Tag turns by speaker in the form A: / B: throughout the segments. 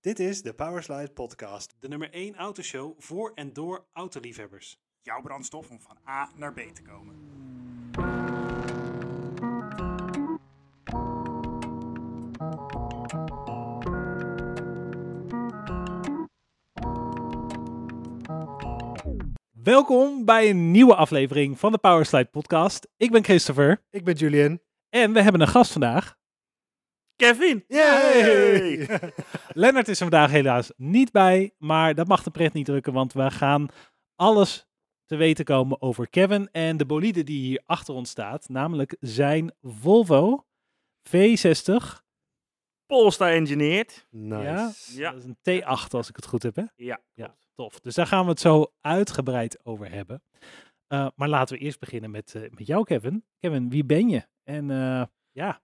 A: Dit is de Powerslide Podcast, de nummer 1 autoshow voor en door autoliefhebbers.
B: jouw brandstof om van A naar B te komen.
C: Welkom bij een nieuwe aflevering van de Powerslide Podcast. Ik ben Christopher
D: Ik ben Julian.
C: en we hebben een gast vandaag.
B: Kevin!
C: Lennart is er vandaag helaas niet bij, maar dat mag de pret niet drukken, want we gaan alles te weten komen over Kevin en de bolide die hier achter ons staat, namelijk zijn Volvo V60.
E: Polestar engineered.
D: Nice.
C: Ja?
E: Ja.
C: Dat is een T8 als ik het goed heb, hè?
E: Ja.
C: Ja, tof. Dus daar gaan we het zo uitgebreid over hebben. Eh, maar laten we eerst beginnen met, eh, met jou, Kevin. Kevin, wie ben je? En eh, ja,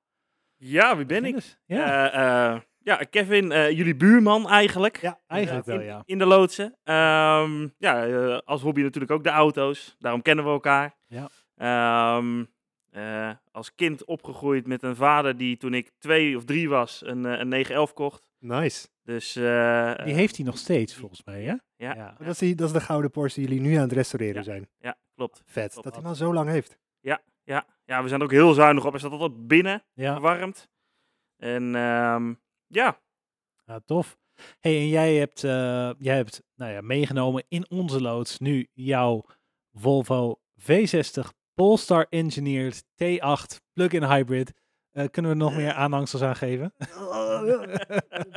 E: Ja, wie ben
C: begin
E: ik?
C: eens. Ja,
E: Eh, eh, ja Kevin, eh, jullie buurman eigenlijk.
D: Ja,
C: eigenlijk wel,
E: in,
C: ja.
E: in de loodsen. Ehm, ja, eh, als hobby natuurlijk ook de auto's. Daarom kennen we elkaar.
C: Ja.
E: Ehm, eh, als kind opgegroeid met een vader die toen ik twee of drie was een, eh, een 911 kocht.
D: Nice.
E: Dus, eh,
C: Die
E: eh,
C: heeft hij nog steeds, volgens mij, hè?
E: Ja.
C: ja.
D: Dat, is die, dat is de gouden Porsche die jullie nu aan het restaureren
E: Ja.
D: zijn.
E: Ja, klopt.
D: Vet.
E: Klopt.
D: Dat hij maar zo lang heeft.
E: Ja. ja, we zijn er ook heel zuinig op. Hij staat altijd binnen,
C: Ja,
E: verwarmd. En ehm, ja,
C: ja, tof. hey, en jij hebt, eh, jij hebt nou ja, meegenomen in onze loods nu jouw Volvo V60 Polestar Engineered T8 plug-in hybrid. Eh, kunnen we er nog meer aanhangsels aan geven?
E: Oh,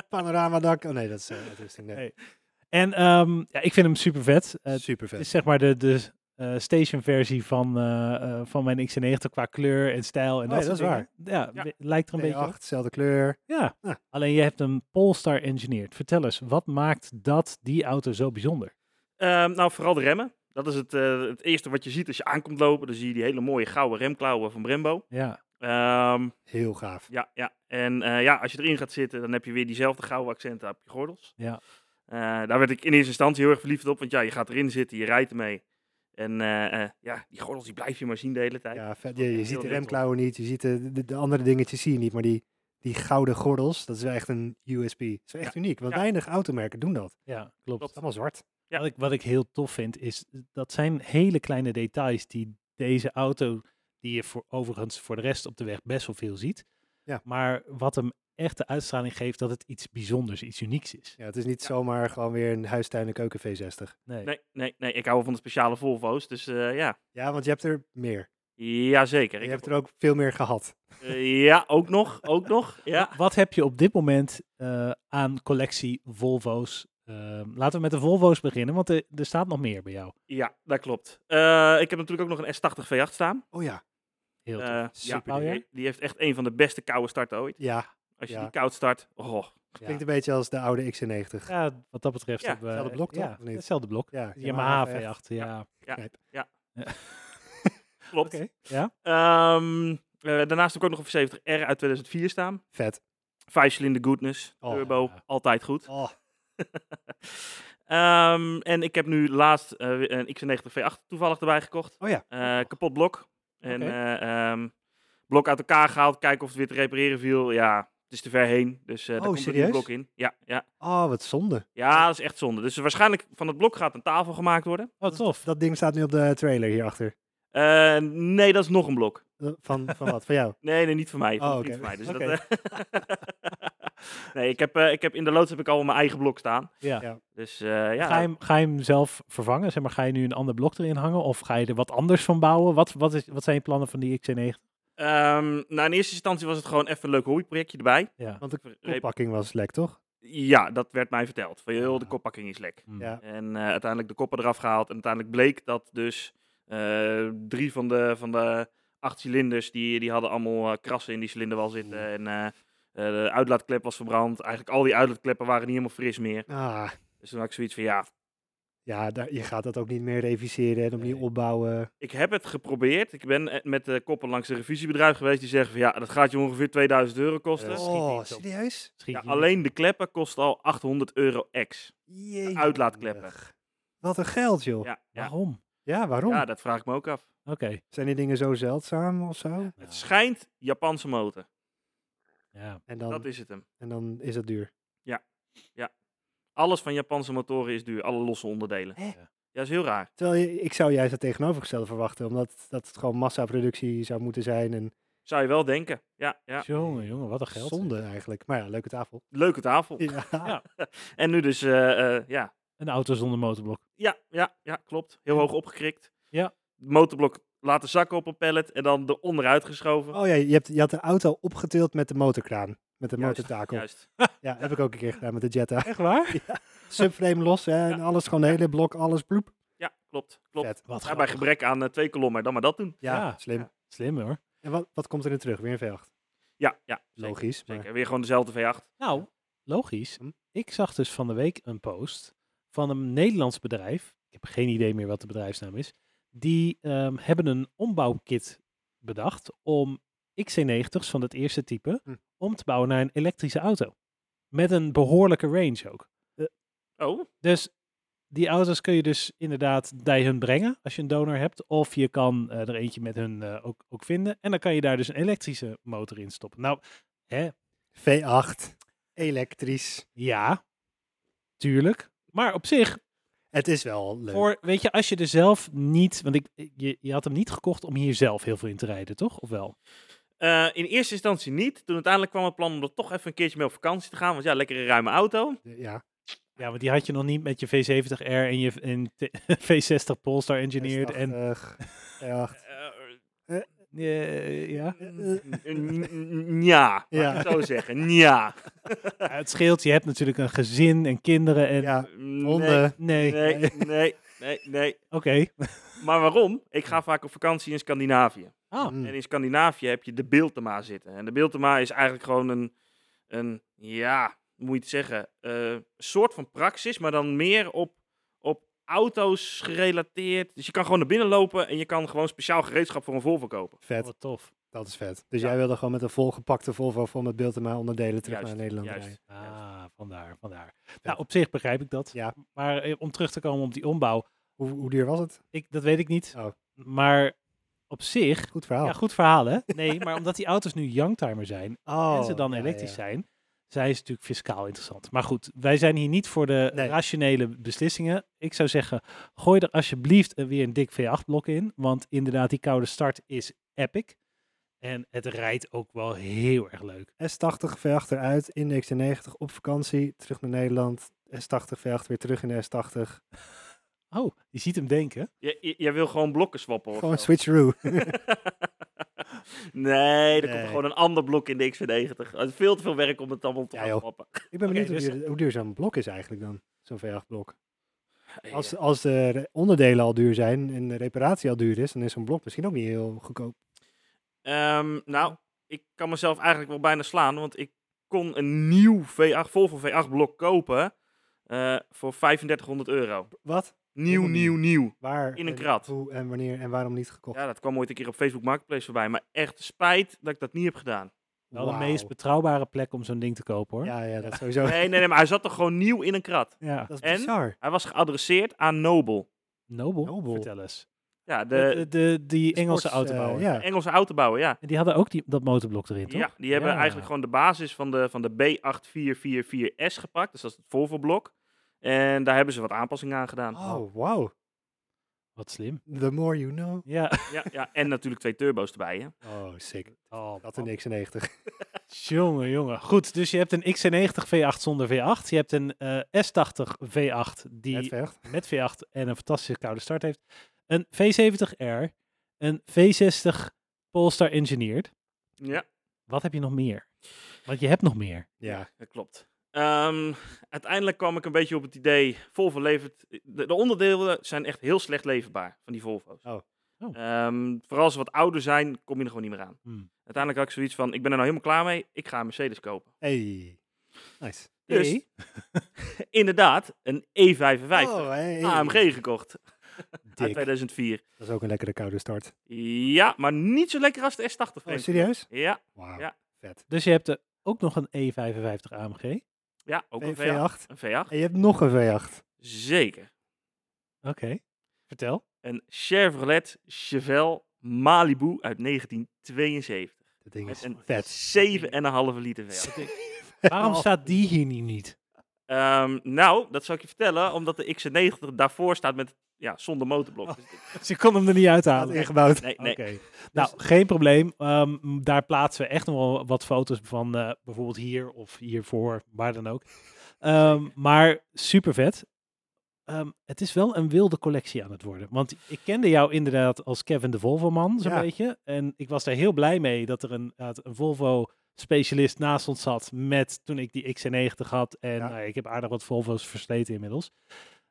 D: Panoramadak. Oh nee, dat is eh, uitrusting. Nee.
C: Hey. En ehm, ja, ik vind hem super vet. Eh,
D: Super
C: Het
D: vet.
C: is zeg maar de, de eh, station versie van, eh, eh, van mijn XC90 qua kleur en stijl. En
D: Oh ja,
C: soort
D: dat is
C: dingen. Ja,
E: Ja.
C: we- lijkt er een beetje op.
D: T8, dezelfde kleur.
C: Ja.
D: Ja.
C: Alleen je hebt een Polestar engineerd. Vertel eens, wat maakt dat die auto zo bijzonder?
E: Ehm, nou, vooral de remmen. Dat is het, eh, het eerste wat je ziet als je aankomt lopen. Dan zie je die hele mooie gouden remklauwen van Brembo.
C: Ja,
E: Ehm,
D: Heel gaaf.
E: ja, ja. En eh, ja, als je erin gaat zitten, dan heb je weer diezelfde gouden accenten op je gordels.
C: Ja.
E: Eh, daar werd ik in eerste instantie heel erg verliefd op. Want ja, je gaat erin zitten, je rijdt ermee. En eh, eh, ja, die gordels die blijf je maar zien de hele tijd.
D: Ja, vet. Je, je
E: Heel
D: ziet de
E: dik,
D: remklauwen niet. Je ziet de, de, de andere dingetjes zie je niet. Maar die, die gouden gordels, dat is wel echt een USP. Dat is wel echt uniek. Want
E: Ja.
D: weinig automerken doen dat. Het
C: ja klopt.
D: is allemaal zwart.
E: Ja.
C: Wat, ik, wat ik heel tof vind, is dat zijn hele kleine details die deze auto, die je voor, overigens voor de rest op de weg best wel veel ziet.
D: Ja.
C: Maar wat hem echt de uitstraling geeft dat het iets bijzonders, iets unieks is.
D: Ja, het is niet
E: Ja.
D: zomaar gewoon weer een huistuin en keuken V60.
C: Nee.
E: Nee, nee, nee. Ik hou wel van de speciale Volvo's. Dus eh, ja,
D: Ja, want je hebt er meer.
E: jazeker.
D: Je
E: Ik
D: hebt
E: heb-
D: er ook veel meer gehad.
E: eh, ja, ook nog, ook nog. Ja.
C: Wat heb je op dit moment eh, aan collectie Volvo's? Ehm, laten we met de Volvo's beginnen, want er, er staat nog meer bij jou.
E: ja, dat klopt. Eh, ik heb natuurlijk ook nog een S80 V8 staan.
D: Oh ja.
C: Heel tof.
E: Eh,
D: Super
E: ja,
C: ding.
E: die, die heeft echt een van de beste koude starten ooit.
D: Ja,
E: Als je
D: Ja.
E: die koud start, oh,
D: Klinkt een beetje als de oude XC90.
C: ja, wat dat betreft.
E: Ja,
C: hebben we-
D: hetzelfde blok toch,
C: Ja,
D: of niet?
C: hetzelfde blok.
D: Ja,
C: Yamaha
D: echt.
C: V8, ja.
E: klopt.
C: Ja?
E: Ehm, eh, daarnaast heb ik ook nog een 70 r uit 2004 staan.
D: Vet.
E: Vijf cilinder goodness,
D: Oh,
E: turbo,
C: ja.
E: altijd goed.
D: Oh,
E: Ehm, en ik heb nu laatst eh, weer een X90 V8 toevallig erbij gekocht.
D: oh ja.
E: Eh, kapot blok. En
C: Oké.
E: eh, ehm, blok uit elkaar gehaald, kijken of het weer te repareren viel. Ja, het is te ver heen, dus eh
D: Oh,
E: daar komt een nieuw
D: serieus?
E: blok in. Ja, ja.
D: Oh, wat zonde.
E: ja, dat is echt zonde. Dus waarschijnlijk van het blok gaat een tafel gemaakt worden.
C: Oh, tof.
D: Dat ding staat nu op de trailer hierachter.
E: Eh, nee, dat is nog een blok.
D: Eh, Van, van wat? Van jou?
E: Nee, nee, niet van mij. Van
D: Oh,
E: een vriend
D: oké.
E: van mij. Dus
D: Oké.
E: dat, eh, nee, ik heb, eh, ik heb in de loods heb ik al mijn eigen blok staan.
C: Ja.
D: Ja.
E: Dus eh, ja.
C: Ga, je hem, ga je hem zelf vervangen? Zeg maar, ga je nu een ander blok erin hangen? Of ga je er wat anders van bouwen? Wat, wat, is, wat zijn je plannen van die XC90?
E: ehm, nou, in eerste instantie was het gewoon even een leuk hobbyprojectje erbij.
C: Ja.
D: Want de koppakking was lek, toch?
E: Ja, dat werd mij verteld. Van joh, de
C: Ah.
E: koppakking is lek.
C: Hm.
D: Ja.
E: En eh, uiteindelijk de koppen eraf gehaald. En uiteindelijk bleek dat dus eh, drie van de, van de acht cilinders, die, die hadden allemaal eh, krassen in die cilinderwal zitten. En eh, eh, de uitlaatklep was verbrand. Eigenlijk al die uitlaatkleppen waren niet helemaal fris meer.
D: Ah,
E: Dus toen had ik zoiets van, ja,
D: ja, daar, je gaat dat ook niet meer reviseren en opnieuw
C: Nee.
D: opbouwen.
E: ik heb het geprobeerd. Ik ben eh, met de koppen langs een revisiebedrijf geweest die zeggen van, ja, dat gaat je ongeveer 2000 euro kosten.
C: Ja, Eh, schiet
D: Oh,
C: iets op.
D: serieus?
C: Schiet
E: Ja,
C: je-
E: alleen de kleppen kost al 800 euro ex.
D: Jee.
E: Uitlaatkleppen.
D: Wat een geld, joh. Ja,
E: Ja, ja.
C: Oh, Waarom?
D: waarom?
E: ja, dat vraag ik me ook af.
C: Oké.
D: Zijn die dingen zo zeldzaam of zo?
E: Het schijnt Japanse motor.
C: Ja.
D: En dan,
C: Oh.
E: Dat is het hem.
D: en dan is dat duur.
E: Ja. Alles van Japanse motoren is duur, alle losse onderdelen.
D: Hè?
E: Ja, dat is heel raar.
D: Terwijl je- ik zou juist het tegenovergestelde verwachten, omdat dat het gewoon massaproductie zou moeten zijn. En
E: Zou je wel denken. Ja, ja.
C: Jongen, jongen, wat een geld. zeg.
D: zonde eigenlijk. Maar ja, leuke tafel.
E: leuke tafel.
D: Ja.
E: En nu dus, eh, eh, ja.
C: Een auto zonder motorblok.
E: Ja, ja, ja, klopt. Heel hoog opgekrikt.
C: Ja.
E: Motorblok laten zakken op een pallet en dan eronder uitgeschoven.
D: Oh ja, je, hebt, je had de auto opgetild met de motorkraan. Met de
E: Juist,
D: motortakel.
E: Juist.
D: Ja, heb ik ook een keer gedaan met de Jetta.
C: Echt waar?
D: Subframe los hè, en alles, gewoon het hele blok, alles bloep.
E: Ja, klopt. klopt.
D: Vet.
C: Wat
E: Ja, bij gebrek aan eh, twee kolommen, dan maar dat doen.
D: Ja,
C: Ja.
D: slim.
C: Slim hoor.
D: En wat, wat komt er in terug? Weer een V8.
E: Ja, ja. zeker,
D: Logisch.
E: Zeker.
D: Maar,
E: Weer gewoon dezelfde V8.
C: Nou, logisch.
D: Hm?
C: Ik zag dus van de week een post van een Nederlands bedrijf. Ik heb geen idee meer wat de bedrijfsnaam is. Die ehm, hebben een ombouwkit bedacht om XC90's van het eerste type
D: Hm.
C: om te bouwen naar een elektrische auto. Met een behoorlijke range ook.
E: Oh,
C: Dus die auto's kun je dus inderdaad bij hun brengen als je een donor hebt. Of je kan eh, er eentje met hun eh, ook, ook vinden. En dan kan je daar dus een elektrische motor in stoppen. Nou, hè,
D: V8, elektrisch.
C: ja, tuurlijk. Maar op zich,
D: Het is wel leuk.
C: voor, weet je, als je er zelf niet... Want ik, je, je had hem niet gekocht om hier zelf heel veel in te rijden, toch? Of wel?
E: Eh, in eerste instantie niet. Toen uiteindelijk kwam het plan om er toch even een keertje mee op vakantie te gaan. Want ja, lekkere ruime auto.
D: Ja,
C: Ja, want die had je nog niet met je V70R en je en t- V60 Polestar Engineered. En,
D: Ja,
E: Eh,
C: Eh, ja.
E: n- n- Ja,
D: Ja.
E: ja. Ik zo zeggen. Ja.
C: Ja, het scheelt, je hebt natuurlijk een gezin en kinderen. En,
D: ja,
E: Nee,
D: honden.
C: nee,
E: nee, nee, nee, nee.
C: oké.
E: Maar waarom? Ik ga vaak op vakantie in Scandinavië.
C: Ah,
D: Mm.
E: En in Scandinavië heb je de Biltema zitten. En de Biltema is eigenlijk gewoon een, een ja, hoe moet je het zeggen, eh, soort van praxis, maar dan meer op, op auto's gerelateerd. Dus je kan gewoon naar binnen lopen en je kan gewoon speciaal gereedschap voor een Volvo kopen.
D: Vet,
C: wat tof.
D: dat is vet. Dus jij wilde gewoon met een volgepakte Volvo vol met beeld en maar onderdelen terug
E: Juist,
D: naar Nederland
E: juist.
D: rijden.
C: Ah, vandaar, vandaar. Nou, op zich begrijp ik dat.
D: Ja.
C: Maar eh, om terug te komen op die ombouw,
D: Hoe, hoe duur was het?
C: ik, dat weet ik niet.
D: Oh.
C: Maar op zich,
D: Goed verhaal.
C: ja, goed verhaal hè? Nee, maar omdat die auto's nu youngtimer zijn
D: oh,
C: en ze dan
D: ja,
C: elektrisch
D: ja.
C: zijn, zijn ze natuurlijk fiscaal interessant. Maar goed, wij zijn hier niet voor de
D: Nee.
C: rationele beslissingen. Ik zou zeggen, gooi er alsjeblieft eh, weer een dik V8-blok in, want inderdaad, die koude start is epic. En het rijdt ook wel heel erg leuk.
D: S80 V8 eruit, index 90 op vakantie, terug naar Nederland. S80 V8 weer terug in de S80.
C: Oh, je ziet hem denken.
E: J- j- jij wil gewoon blokken swappen of
D: Gewoon
E: zo.
D: switcheroo.
E: Nee, er
D: Nee.
E: komt gewoon een ander blok in de X40. Het is veel te veel werk om het allemaal te
D: Ja,
E: gaan
D: joh.
E: swappen.
D: Ik ben benieuwd
C: dus-
D: hoe, duur, hoe duur zo'n blok is eigenlijk dan, zo'n V8 blok. Als, als de re- onderdelen al duur zijn en de reparatie al duur is, dan is zo'n blok misschien ook niet heel goedkoop.
E: Ehm, nou, ik kan mezelf eigenlijk wel bijna slaan, want ik kon een nieuw V8, Volvo V8 blok kopen eh, voor 3500 euro.
D: Wat?
E: Nieuw,
D: Helemaal
E: nieuw, nieuw.
D: Waar?
E: In een
D: en
E: krat.
D: Hoe en wanneer en waarom niet gekocht?
E: Ja, dat kwam ooit een keer op Facebook Marketplace voorbij, maar echt spijt dat ik dat niet heb gedaan.
C: Wel
D: Wauw.
C: de meest betrouwbare plek om zo'n ding te kopen hoor.
D: Ja, ja, dat sowieso.
E: Nee, nee, nee, maar hij zat toch gewoon nieuw in een krat.
C: Ja.
D: Dat is
E: En?
D: bizar.
E: Hij was geadresseerd aan Nobel.
C: Nobel,
D: Nobel.
C: vertel eens.
E: Ja,
C: De,
E: de
C: de, die Engelse
D: Sports, eh,
C: autobouwer.
D: ja.
E: Engelse autobouwer, ja.
C: En die hadden ook die, dat motorblok erin, toch?
E: Ja, die hebben
C: Ja.
E: eigenlijk gewoon de basis van de, van de B8444S gepakt. Dus dat is het Volvo blok. En daar hebben ze wat aanpassingen aan gedaan.
D: Oh, wow.
C: Wat slim.
D: The more you know.
C: Ja.
E: Ja, ja, en natuurlijk twee turbo's erbij, hè.
D: Oh, sick.
C: Oh,
D: Dat een X90.
C: jongen, jongen. Goed, dus je hebt een XC90 V8 zonder V8. Je hebt een eh, S80 V8 die
D: Net
C: met,
D: vecht.
C: V8 en een fantastische koude start heeft. Een V70R. Een V60 Polestar Engineered.
E: Ja,
C: Wat heb je nog meer? Want je hebt nog meer.
D: Ja.
E: dat klopt. Ehm, uiteindelijk kwam ik een beetje op het idee, Volvo levert... De, de onderdelen zijn echt heel slecht leverbaar van die Volvo's.
D: Oh.
C: Oh.
E: Ehm, vooral als ze wat ouder zijn, kom je er gewoon niet meer aan.
C: Hmm.
E: Uiteindelijk had ik zoiets van, ik ben er nou helemaal klaar mee, ik ga een Mercedes kopen.
D: Hey. Nice.
E: Dus,
C: Hey,
E: Inderdaad, een E E55
D: Oh, hey.
E: AMG gekocht uit
D: Dik.
E: 2004.
D: Dat is ook een lekkere koude start.
E: Ja, maar niet zo lekker als de S80.
D: Oh,
E: vreemd genoeg.
D: serieus?
E: Ja,
D: Wauw.
E: Ja.
D: Vet.
C: Dus je hebt er ook nog een E E55 AMG. Oké.
E: ja, ook een V8.
D: V8.
E: Een V8,
D: En je hebt nog een V8.
E: zeker.
C: Vertel.
E: Een Chevrolet Chevelle Malibu uit 1972.
D: Dat ding
E: Met
D: is
E: een
D: vet.
E: 7,5 liter V8.
C: Waarom staat die hier niet? niet?
E: Ehm, nou, dat zou ik je vertellen, omdat de XC90 daarvoor staat met, ja, zonder motorblok.
C: Oh.
E: Dus
C: Ze kon hem er niet
D: Staat
C: uithalen.
D: ingebouwd.
E: nee, nee. Dus-
C: Oké. Nou, geen probleem. Ehm, daar plaatsen we echt nog wel wat foto's van, eh, bijvoorbeeld hier of hiervoor, waar dan ook. Ehm, maar super vet. Ehm, het is wel een wilde collectie aan het worden. Want ik kende jou inderdaad als Kevin de Volvo-man, zo'n
D: Ja.
C: beetje. En ik was daar heel blij mee dat er een, dat een Volvo-specialist naast ons zat. Met toen ik die XC90 had. En
D: Ja.
C: nou, ik heb aardig wat Volvo's versleten inmiddels.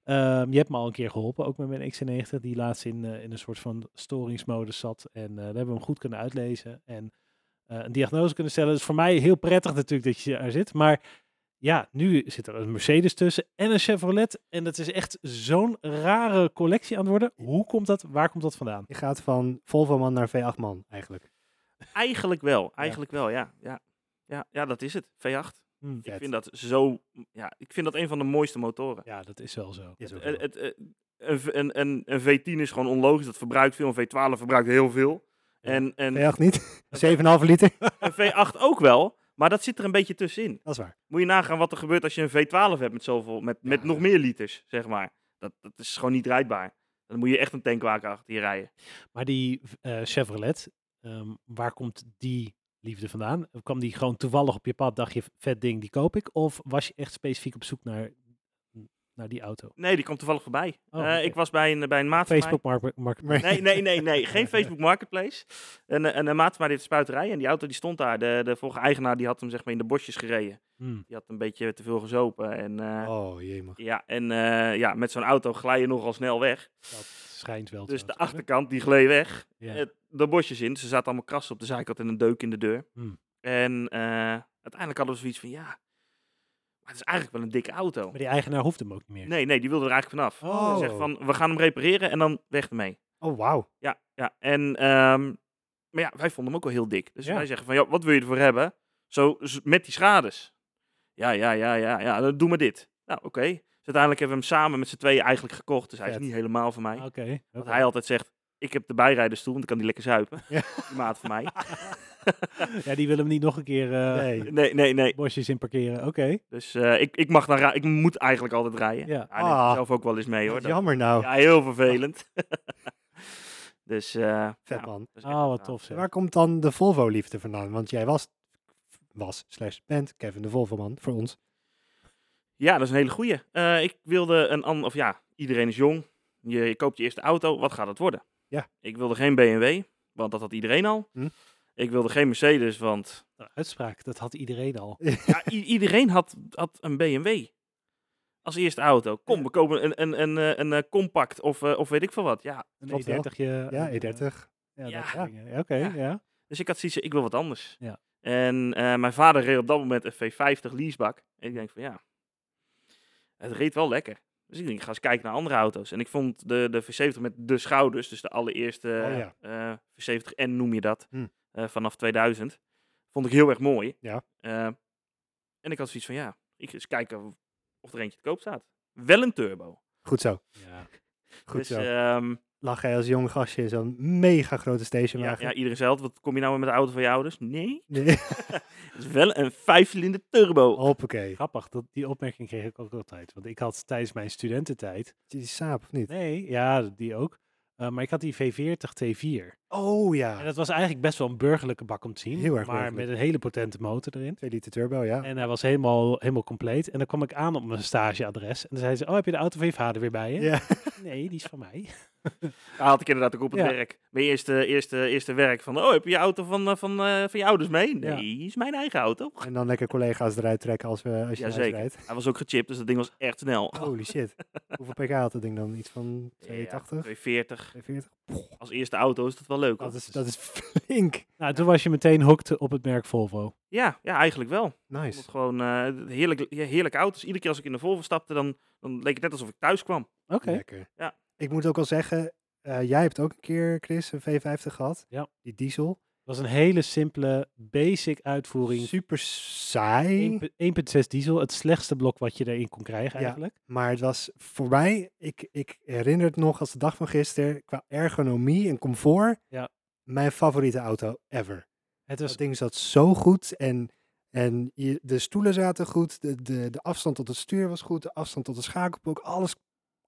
C: Ehm, je hebt me al een keer geholpen, ook met mijn XC90, die laatst in, eh, in een soort van storingsmodus zat. En eh we hebben hem goed kunnen uitlezen en eh, een diagnose kunnen stellen. Dus voor mij heel prettig natuurlijk dat je er zit. Maar ja, nu zit er een Mercedes tussen en een Chevrolet. En dat is echt zo'n rare collectie aan het worden. Hoe komt dat? Waar komt dat vandaan?
D: Je gaat van Volvo-man naar V8-man eigenlijk.
E: Eigenlijk wel, eigenlijk wel, ja. ja. Ja, ja, dat is het. V8.
C: Hm,
E: Ik
D: Vet.
E: vind dat zo. Ja, ik vind dat een van de mooiste motoren.
C: ja, dat is wel zo.
D: Is ook
E: Het-
D: wel.
E: het- eh, een, v- een, een, een V10 is gewoon onlogisch. Dat verbruikt veel. Een V12 verbruikt heel veel.
C: Ja.
E: En, en
D: V8 niet. 7,5 liter.
E: een V8 ook wel. Maar dat zit er een beetje tussenin.
D: Dat is waar.
E: Moet je nagaan wat er gebeurt als je een V12 hebt met, zoveel, met, met
D: Ja.
E: nog meer liters, zeg maar. Dat, dat is gewoon niet rijdbaar. Dan moet je echt een tankwagen achter je rijden.
C: Maar die eh, Chevrolet, ehm, waar komt die liefde vandaan? Kwam die gewoon toevallig op je pad, dacht je, vet ding, die koop ik? Of was je echt specifiek op zoek naar, naar die auto?
E: Nee, die kwam toevallig voorbij.
C: Oh,
E: Eh,
C: oké.
E: Ik was bij een, bij een maat van mij.
C: Facebook market, market.
D: Maar
E: Nee, nee, nee, nee. Geen Facebook Marketplace. En, eh, en een maat van mij die heeft een spuiterij. En die auto die stond daar. De, de vorige eigenaar die had hem zeg maar in de bosjes gereden.
C: Hmm.
E: Die had een beetje te veel gezopen. En, eh,
D: Oh, jee man.
E: ja, en eh, ja, met zo'n auto glij je nogal snel weg.
C: Dat schijnt wel.
E: Dus de
C: trouwens, hoor.
E: achterkant die gleed weg.
C: Ja.
E: Het- de bosjes in. Dus er zaten allemaal krassen op de zijkant en een deuk in de deur.
C: Hmm.
E: En eh, uiteindelijk hadden we zoiets van ja, maar het is eigenlijk wel een dikke auto.
C: Maar die eigenaar hoeft hem ook niet meer.
E: Nee, nee, die wilde er eigenlijk vanaf.
D: Oh.
E: Ze zegt van we gaan hem repareren en dan weg ermee.
D: Oh, wauw.
E: Ja, ja. En, ehm, maar ja, wij vonden hem ook wel heel dik. Dus
C: Ja.
E: wij zeggen van, ja, wat wil je ervoor hebben? Zo, z- met die schades. Ja, ja, ja, ja, ja, dan doe maar dit. Nou, oké. Dus uiteindelijk hebben we hem samen met z'n tweeën eigenlijk gekocht. Dus hij is
D: Vet.
E: niet helemaal van mij.
C: Ah, Oké.
E: Want
C: oké.
E: hij altijd zegt, ik heb de bijrijdersstoel, want dan kan die lekker zuipen.
D: Ja.
E: Die maat van mij.
C: Ja, die wil hem niet nog een keer eh
D: Nee.
E: Nee, nee, nee.
C: bosjes in parkeren. Oké.
E: Dus eh, ik, ik mag dan ra- ik moet eigenlijk altijd rijden.
C: Ja.
E: Hij neemt
D: Ah.
E: zelf ook wel eens mee, hoor.
D: Wat
E: Dat-
D: Jammer nou.
E: ja, heel vervelend. dus, eh
D: Vet
E: ja,
D: man. Ah,
E: dat is echt eh,
C: Oh, wat
E: gaaf.
C: tof zeg.
D: Waar komt dan de Volvo-liefde vandaan? Want jij was, was slash bent Kevin de Volvo-man voor ons.
E: Ja, dat is een hele goeie. Eh, ik wilde een ander, of ja, iedereen is jong. Je, je koopt je eerste auto, wat gaat het worden?
D: Ja.
E: Ik wilde geen BMW, want dat had iedereen al.
D: Hm.
E: Ik wilde geen Mercedes, want
C: Nou, uitspraak, dat had iedereen al.
E: ja, i- iedereen had, had een BMW als eerste auto. Kom, we kopen een, een, een, eh, een, eh, compact of, eh, of weet ik veel wat. Ja,
C: Een
D: Klopt wel.
C: E30. -je,
D: Ja, E
C: eh,
D: E30.
C: Ja, dat
E: Ja.
C: soort dingen. Ja, Oké,
E: Ja.
C: ja.
E: dus ik had zoiets, ik wil wat anders.
C: Ja.
E: En eh, mijn vader reed op dat moment een V50 leasebak. En ik denk van ja, het reed wel lekker. Dus ik denk, ik ga eens kijken naar andere auto's. En ik vond de, de V70 met de schouders, dus de allereerste
D: Oh ja.
E: eh, V70N noem je dat,
D: Hm.
E: eh, vanaf 2000, vond ik heel erg mooi.
D: Ja.
E: Eh, en ik had zoiets van ja, ik ga eens kijken of er eentje te koop staat. Wel een turbo.
D: Goed zo.
C: ja.
D: Goed
E: dus
D: zo.
E: ehm,
D: Lag jij als jong gastje in zo'n mega grote
E: ja,
D: stationwagen?
E: ja, iedereen zegt, wat kom je nou weer met de auto van je ouders? Nee,
D: Nee.
E: het is wel een vijfcilinder turbo.
D: Hoppakee.
C: Grappig, dat, die opmerking kreeg ik ook altijd. Want ik had tijdens mijn studententijd...
D: Die saap of niet?
C: Nee, ja, die ook. Eh, maar ik had die V40 T4.
D: Oh
C: En
D: ja.
C: dat was eigenlijk best wel een burgerlijke bak om te zien.
D: Heel erg
C: maar
D: burgerlijk.
C: met een hele potente motor erin.
D: 2 liter turbo, ja.
C: En hij was helemaal, helemaal compleet. En dan kwam ik aan op mijn stageadres. En dan zei ze, oh, heb je de auto van je vader weer bij je?
D: Ja.
C: Nee, die is van mij.
E: Ja, had ik inderdaad ook op het
C: Ja.
E: werk. Mijn eerste, eerste, eerste werk van, oh, heb je je auto van, eh, van, eh, van je ouders mee?
C: Ja.
E: Nee, is mijn eigen auto.
D: En dan lekker collega's eruit trekken als, we, als je eruit
E: Jazeker.
D: rijdt.
E: Hij was ook gechipt, dus dat ding was echt snel.
D: Holy shit. Hoeveel pk had dat ding dan? Iets van
E: Ja,
D: 82,
E: 240.
D: 42?
E: Als eerste auto is dat wel leuk. hoor.
D: Dat is, dat is flink.
C: Nou, toen was je meteen hooked op het merk Volvo.
E: Ja, ja, eigenlijk wel. Ik vond
D: Nice.
E: het gewoon eh, heerlijk, ja, heerlijke auto's. Iedere keer als ik in de Volvo stapte, dan, dan leek het net alsof ik thuis kwam.
C: Oké.
D: Lekker.
E: Ja.
D: Ik moet ook al zeggen, eh, jij hebt ook een keer, Chris, een V50 gehad.
C: Ja.
D: Die diesel.
C: Het was een hele simpele, basic uitvoering.
D: Super saai.
C: 1.6 diesel, het slechtste blok wat je daarin kon krijgen
D: Ja.
C: eigenlijk.
D: Maar het was voor mij, ik, ik herinner het nog als de dag van gisteren, qua ergonomie en comfort,
C: Ja. Dus
D: mijn favoriete auto ever.
C: Het
D: Dat
C: was
D: ding zat zo goed en En je, de stoelen zaten goed, de, de, de afstand tot het stuur was goed, de afstand tot de schakelpook, alles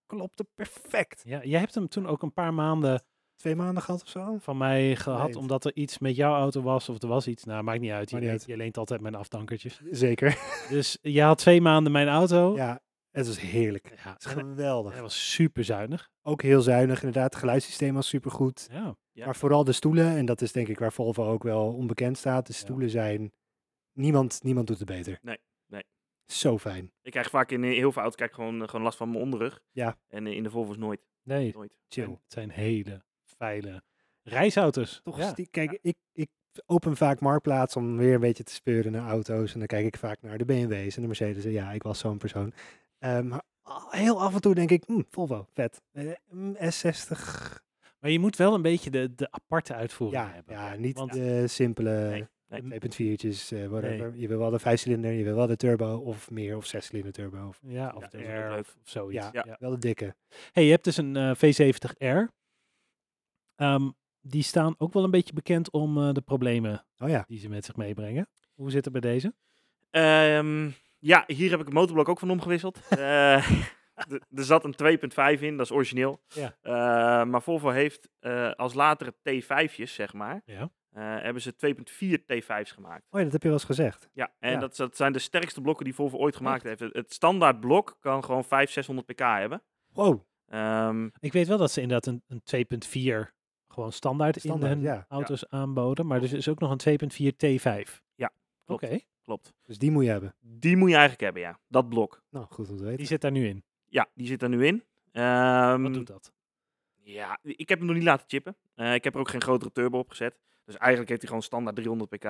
D: klopte perfect.
C: Ja, jij hebt hem toen ook een paar maanden
D: Twee maanden gehad of zo?
C: van mij gehad,
D: Nee.
C: omdat er iets met jouw auto was of er was iets. Nou, maakt niet uit. Je,
D: Maakt niet
C: weet-
D: uit.
C: je leent altijd mijn afdankertjes.
D: Zeker.
C: dus je had twee maanden mijn auto. Ja.
D: Ja, het was heerlijk. Het is
C: en
D: geweldig.
C: hij was super zuinig.
D: Ook heel zuinig, inderdaad. Het geluidssysteem was supergoed.
C: Ja.
E: Ja.
D: Maar vooral de stoelen, en dat is denk ik waar Volvo ook wel onbekend staat. De stoelen zijn... Niemand, niemand doet het beter.
E: Nee, nee.
D: Zo fijn.
E: Ik krijg vaak in eh, heel veel auto's kijk, gewoon, eh, gewoon last van mijn onderrug.
D: Ja.
E: En eh, in de Volvo's nooit.
C: Nee,
E: nooit.
D: Chill.
C: het zijn hele feile reisauto's.
D: Toch,
C: ja.
D: stie- kijk, ik, ik open vaak Marktplaats om weer een beetje te speuren naar auto's. En dan kijk ik vaak naar de BMW's en de Mercedes. En ja, ik was zo'n persoon. Eh, maar al- heel af en toe denk ik, hm, Volvo, vet. Eh, mm, S60.
C: Maar je moet wel een beetje de, de aparte uitvoering
D: Ja,
C: hebben.
D: ja, niet
C: Want-
D: de simpele
E: Nee, nee.
D: 2.4'tjes, eh, whatever. Je wil wel de vijfcilinder, je wil wel de turbo of meer, of zescilinder turbo. Of,
C: Ja, of
E: Ja,
C: de
E: dat is ook
C: R
E: leuk.
C: of, of zoiets.
D: Ja.
C: ja.
D: Wel de dikke.
C: Hey, je hebt dus een eh, V70R. Ehm, die staan ook wel een beetje bekend om eh, de problemen
D: Oh ja,
C: die ze met zich meebrengen. Hoe zit het bij deze?
E: Ehm, ja, hier heb ik het motorblok ook van omgewisseld. Eh, d- er zat een 2.5 in, dat is origineel.
C: Ja.
E: Eh, maar Volvo heeft eh, als latere T5'jes, zeg maar,
C: Ja.
E: eh, hebben ze 2.4 T5's gemaakt.
D: oh, ja, dat heb je wel eens gezegd.
E: Ja, en
D: Ja.
E: Dat, dat zijn de sterkste blokken die Volvo ooit gemaakt heeft. Het, het standaard blok kan gewoon 500, 600 pk hebben.
D: Wow,
E: Ehm,
C: Ik weet wel dat ze inderdaad een, een 2.4 gewoon standaard,
D: Standaard,
C: in hun
D: ja.
C: auto's aanboden. Maar dus is ook nog een 2.4 T5.
E: Ja, klopt.
C: Oké,
E: klopt.
D: dus die moet je hebben.
E: Die moet je eigenlijk hebben, ja. Dat blok.
D: Nou, goed om te weten.
C: die zit daar nu in.
E: Ja, die zit er nu in. Ehm,
C: Wat doet dat?
E: Ja, ik heb hem nog niet laten chippen. Eh, ik heb er ook geen grotere turbo op gezet. Dus eigenlijk heeft hij gewoon standaard 300 pk.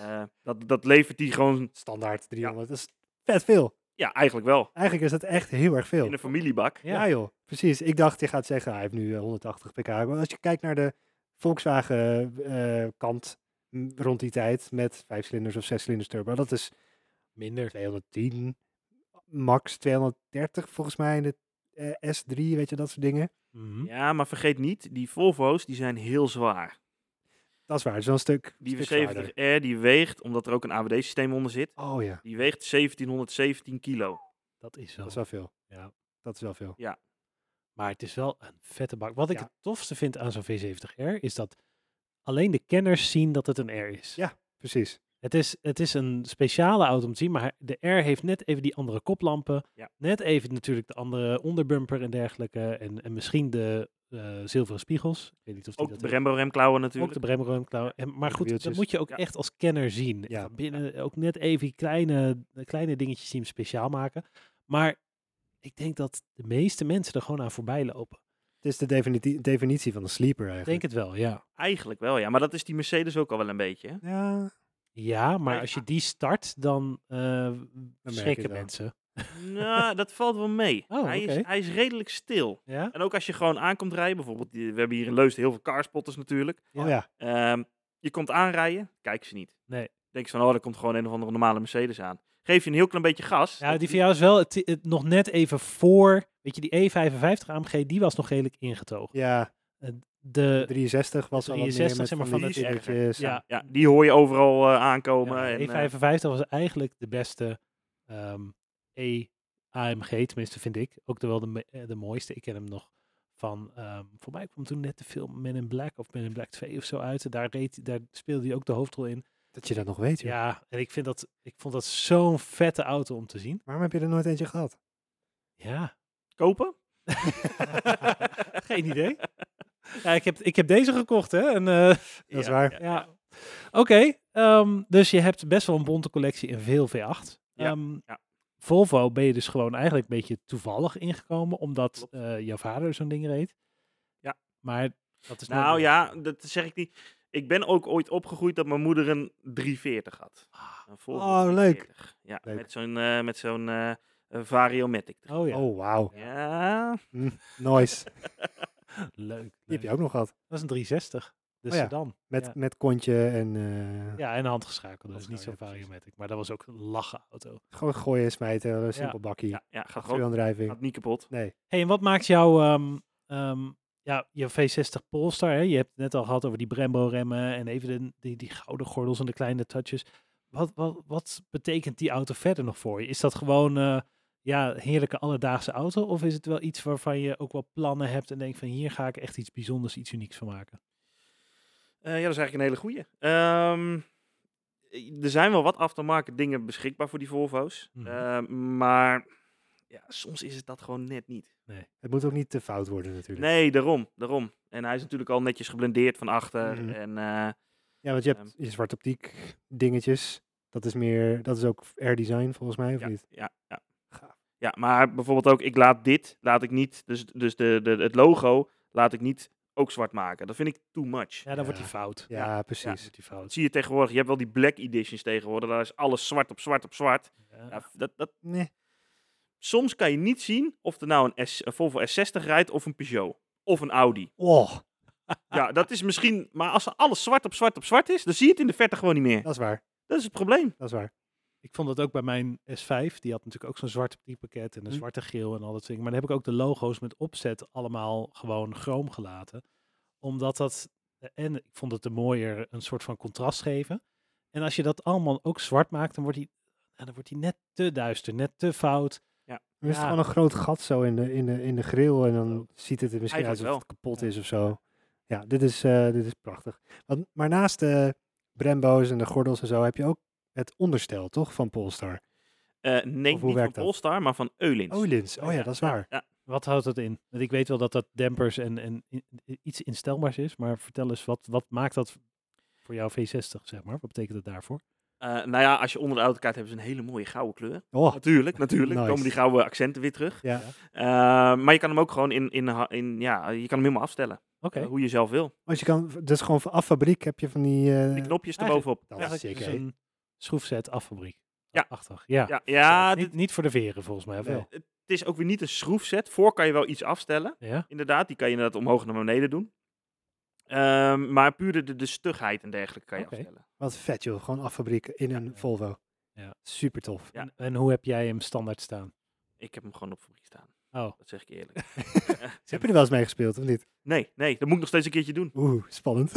E: Eh, dat, dat levert hij gewoon...
D: Standaard 300, dat is vet veel.
E: Ja, eigenlijk wel.
D: Eigenlijk is dat echt heel erg veel.
E: In een familiebak.
D: Ja. joh, precies. Ik dacht, je gaat zeggen, hij heeft nu eh, 180 pk. Maar als je kijkt naar de Volkswagen eh, kant m, rond die tijd met vijfcilinders of zescilinders turbo, dat is
C: Minder.
D: 210, max 230 volgens mij in de eh, S3, weet je, dat soort dingen.
C: Mhm.
E: Ja, maar vergeet niet, die Volvo's die zijn heel zwaar.
D: Dat is waar, het is wel een stuk,
E: Die
D: stuk zwaarder.
E: V70R die weegt, omdat er ook een AWD-systeem onder zit,
D: Oh ja,
E: die weegt 1717 kilo.
C: Dat is
D: dat
C: wel.
D: is wel veel.
C: Ja.
D: Dat is wel veel.
C: Maar het is wel een vette bak. Wat ik
D: Ja.
C: het tofste vind aan zo'n V70R is dat alleen de kenners zien dat het een R is.
D: Ja. Precies.
C: Het is, het is een speciale auto om te zien, maar de R heeft net even die andere koplampen.
E: Ja.
C: Net even natuurlijk de andere onderbumper en dergelijke. En, en misschien de eh, zilveren spiegels. Ik weet niet of die
E: Ook de
C: dat
E: Brembo-remklauwen
C: heeft. Ook
E: natuurlijk.
C: de Brembo-remklauw. En- Maar
D: de
C: goed, dat
D: wieltjes.
C: moet je ook
E: Ja.
C: echt als kenner zien.
D: Ja.
C: Ja. Binnen ook net even die kleine, de kleine dingetjes die hem speciaal maken. Maar ik denk dat de meeste mensen er gewoon aan voorbij lopen.
D: Het is de definitie, definitie van een sleeper
C: Ik
D: eigenlijk.
C: denk het wel, ja.
E: Eigenlijk wel, ja. Maar dat is die Mercedes ook al wel een beetje. hè?
D: Ja,
C: Ja, maar
E: ja.
C: als je die start, dan eh
D: merk je
C: schrikken
D: het wel.
C: mensen.
E: nou, dat valt wel mee.
C: Oh,
E: hij, is,
C: oké.
E: hij is redelijk stil.
C: Ja?
E: En ook als je gewoon aankomt rijden, bijvoorbeeld, die- we hebben hier in Leusden heel veel carspotters natuurlijk.
D: oh ja.
E: Ehm, je komt aanrijden, kijk ze niet.
C: Nee.
E: Denk ze van, oh, er komt gewoon een of andere normale Mercedes aan. Geef je een heel klein beetje gas.
C: Ja,
E: dat-
C: die van jou is wel het, het nog net even voor. Weet je, die E E55 AMG, die was nog redelijk ingetogen.
D: Ja,
C: De,
D: 63 was al wat meer
C: 63,
D: met
C: zeg maar,
D: van
E: van
D: die
E: dat-
D: dingetjes.
C: ja,
E: ja, die hoor je overal eh, aankomen.
C: ja,
E: en, eh,
C: E55 was eigenlijk de beste ehm, E AMG, tenminste vind ik. Ook de, wel de, me- eh, de mooiste. Ik ken hem nog van, ehm, voor mij kwam toen net de film Men in Black of Men in Black 2 of zo uit. En Daar, reed, daar speelde hij ook de hoofdrol in.
D: dat je dat nog weet. joh.
C: Ja, en ik, vind dat, ik vond dat zo'n vette auto om te zien.
D: Waarom heb je er nooit eentje gehad?
C: Ja,
E: kopen?
C: geen idee. Ja, ik, heb, ik heb deze gekocht, hè. En, eh,
D: Dat is waar.
C: Ja. Oké, ehm, dus je hebt best wel een bonte collectie en veel V8.
E: Ja,
C: Ehm,
E: ja.
C: Volvo ben je dus gewoon eigenlijk een beetje toevallig ingekomen, omdat
E: Klopt.
C: eh, jouw vader zo'n ding reed.
E: Ja.
C: Maar dat is
E: Nou ja, dat zeg ik niet. Ik ben ook ooit opgegroeid dat mijn moeder een 340 had. Een Volvo
D: Oh, leuk.
E: 340. Ja,
D: Leuk.
E: met zo'n eh, met zo'n eh, eh, Variomatic. erin.
C: Oh ja,
D: Oh, wauw.
E: Ja,
D: Nice.
C: leuk.
D: Die heb
C: leuk.
D: je ook nog gehad.
C: Dat is een 360, de
D: Oh ja.
C: sedan.
D: Met,
C: Ja.
D: met kontje en eh,
C: Ja, en handgeschakeld, dat is niet zo'n
D: Handgeschakeld, ja, precies.
C: variomatic. Maar dat was ook een lachen auto.
D: gewoon gooien, smijten, een simpel bakkie.
E: ja, ja gaat gewoon.
D: Stuuraandrijving.
E: Gaat niet kapot.
D: Nee.
C: hey, en wat maakt jouw ehm, ehm, ja, je V60 Polestar? Hè? Je hebt het net al gehad over die Brembo remmen en even de, die, die gouden gordels en de kleine touches. wat, wat, wat betekent die auto verder nog voor je? Is dat gewoon eh, ja, heerlijke alledaagse auto? Of is het wel iets waarvan je ook wel plannen hebt en denkt van hier ga ik echt iets bijzonders, iets unieks van maken?
E: Eh, ja, dat is eigenlijk een hele goeie. Ehm, eh, er zijn wel wat aftermarket dingen beschikbaar voor die Volvo's.
C: Mhm.
E: eh, maar ja, soms is het dat gewoon net niet.
D: Het moet ook niet te fout worden natuurlijk.
E: Nee, daarom, daarom. En hij is natuurlijk al netjes geblendeerd van achter.
D: Mhm.
E: En eh,
D: Ja, want je hebt je zwarte optiek dingetjes. Dat is meer, dat is ook air design volgens mij, of
E: ja,
D: niet?
E: ja, ja.
D: Gaaf.
E: ja, maar bijvoorbeeld ook, ik laat dit, laat ik niet, dus, dus de, de, het logo laat ik niet ook zwart maken. Dat vind ik too much.
C: Ja, dan wordt die fout.
D: Ja,
C: Dan
D: precies.
C: wordt die fout.
E: Dat zie je tegenwoordig, je hebt wel die black editions tegenwoordig, daar is alles zwart op zwart op zwart.
C: Ja.
E: Ja, dat, dat,
D: Nee.
E: soms kan je niet zien of er nou een, S, een Volvo S60 rijdt of een Peugeot. Of een Audi.
D: Oh,
E: Ja, dat is misschien... Maar als er alles zwart op zwart op zwart is, dan zie je het in de verte gewoon niet meer.
D: dat is waar.
E: Dat is het probleem.
D: Dat is waar.
C: Ik vond dat ook bij mijn S5. Die had natuurlijk ook zo'n zwart pakket en een
D: Hm.
C: zwarte geel en al dat soort dingen. Maar dan heb ik ook de logo's met opzet allemaal gewoon chroom gelaten. Omdat dat, en ik vond het een mooier, een soort van contrast geven. En als je dat allemaal ook zwart maakt, dan wordt die, ja, dan wordt die net te duister, net te fout.
D: Er is
C: Ja.
D: gewoon een groot gat zo in de, in de, in de grill en dan ziet het er misschien uit
E: Eigenlijk
D: alsof
E: wel.
D: het kapot is of zo. Ja, dit is, eh, dit is prachtig. Want, maar naast de Brembo's en de gordels en zo heb je ook het onderstel, toch, van Polestar?
E: Eh, nee,
D: Of hoe
E: niet van
D: werkt dat?
E: Polestar, maar van Eulins.
D: Olins, oh ja, dat is waar.
C: Wat houdt dat in? Want ik weet wel dat dat dempers en, en i- i- iets instelbaars is. Maar vertel eens, wat, wat maakt dat voor jouw V60, zeg maar? Wat betekent het daarvoor?
E: Eh, nou ja, als je onder de auto kijkt, hebben ze een hele mooie gouden kleur.
D: Oh,
E: Natuurlijk, natuurlijk.
D: Nice.
E: komen die gouden accenten weer terug.
D: ja.
E: Eh, maar je kan hem ook gewoon in, in, ha- in... Ja, je kan hem helemaal afstellen.
C: Oké.
E: Eh, hoe je zelf wil.
D: Want je kan, dus gewoon vanaf fabriek heb je van die... eh,
E: Die knopjes
C: eigenlijk-
E: erbovenop.
D: dat is
C: Eigenlijk
D: sick,
C: is
D: hè?
C: dus een schroefzet affabriek.
E: Ja.
C: Achtig, ja.
E: Ja, ja dit-
C: niet, niet voor de veren volgens mij, of
D: Nee.
C: wel?
E: het is ook weer niet een schroefset. Voor kan je wel iets afstellen.
C: Ja?
E: Inderdaad, die kan je inderdaad omhoog naar beneden doen. Ehm, maar puur de- de, de stugheid en dergelijke kan je
C: Oké.
E: afstellen.
D: Wat vet joh, gewoon affabriek in een
C: Ja.
D: Volvo.
C: Ja.
D: Super tof.
E: Ja.
C: En, en hoe heb jij hem standaard staan?
E: Ik heb hem gewoon op fabriek staan.
C: Oh,
E: Dat zeg ik je eerlijk.
D: Heb je er wel eens mee gespeeld of niet?
E: Nee, nee, dat moet ik nog steeds een keertje doen.
D: Oeh, spannend.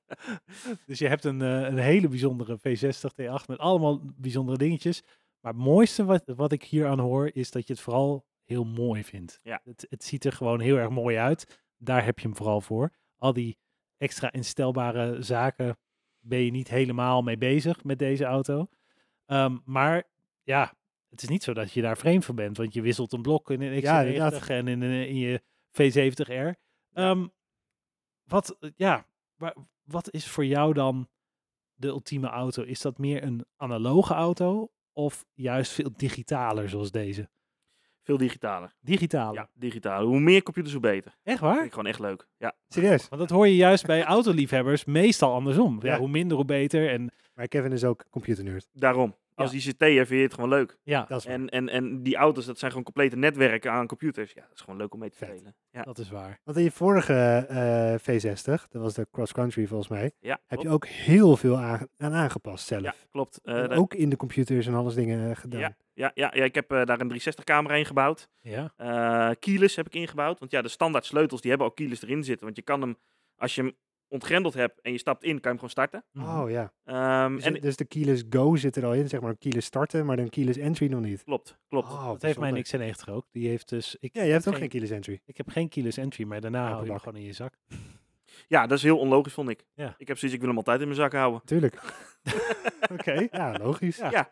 C: dus je hebt een, eh, een hele bijzondere V60 T8 met allemaal bijzondere dingetjes. Maar het mooiste wat, wat ik hier aan hoor is dat je het vooral heel mooi vindt.
E: Ja.
C: Het, het ziet er gewoon heel erg mooi uit. Daar heb je hem vooral voor. Al die extra instelbare zaken ben je niet helemaal mee bezig met deze auto. Ehm, maar ja, het is niet zo dat je daar vreemd van bent, want je wisselt een blok in een X90
D: Ja, inderdaad.
C: en in, een- in je V70R. Ehm, wat, eh, ja, wa- wat is voor jou dan de ultieme auto? Is dat meer een analoge auto of juist veel digitaler zoals deze?
E: Veel digitaler.
C: Digitaler.
E: Ja, digitaler. Hoe meer computers, hoe beter.
C: Echt
E: Vind
C: waar?
E: ik gewoon echt leuk. Ja,
D: Serieus.
C: Want dat hoor je juist bij autoliefhebbers meestal andersom. Ja,
D: Ja.
C: Hoe minder, hoe beter. En
D: Maar Kevin is ook computernerd.
E: daarom. Als ICT'er vind je het gewoon leuk.
C: ja,
D: Dat is waar.
E: En, en, en die auto's, dat zijn gewoon complete netwerken aan computers. Ja, dat is gewoon leuk om mee te
D: Vet.
E: spelen. Ja,
C: dat is waar.
D: Want in je vorige eh, V60, dat was de Cross Country volgens mij,
E: ja
D: heb je
E: klopt.
D: ook heel veel aan, aan aangepast zelf.
E: Ja, klopt. Eh,
D: En
E: daar-
D: ook in de computers en alles dingen eh, gedaan.
E: ja, ja, ja, ja, ik heb eh, daar een 360-camera in gebouwd.
C: Ja.
E: eh keyless heb ik ingebouwd. Want ja, de standaard sleutels die hebben al keyless erin zitten. Want je kan hem, als je hem ontgrendeld hebt en je stapt in, kan je hem gewoon starten.
C: Mhm.
D: Oh ja.
E: Ehm,
D: Dus,
E: en
D: het- dus de keyless go zit er al in, zeg maar keyless starten, maar dan keyless entry nog niet.
E: klopt, klopt.
D: Oh,
C: dat heeft mijn
D: bijzonder.
C: X90 ook. Die heeft dus... Ik,
D: Ja, Oh, je hebt ook
C: geen-
D: geen keyless entry.
C: ik heb geen keyless entry, maar daarna hou je hem
D: Apenbak.
C: gewoon in je zak.
E: Ja, dat is heel onlogisch, vond ik.
C: Ja.
E: Ik heb zoiets, ik wil hem altijd in mijn zak houden.
D: Tuurlijk. Oké. Ja, logisch.
C: Ja.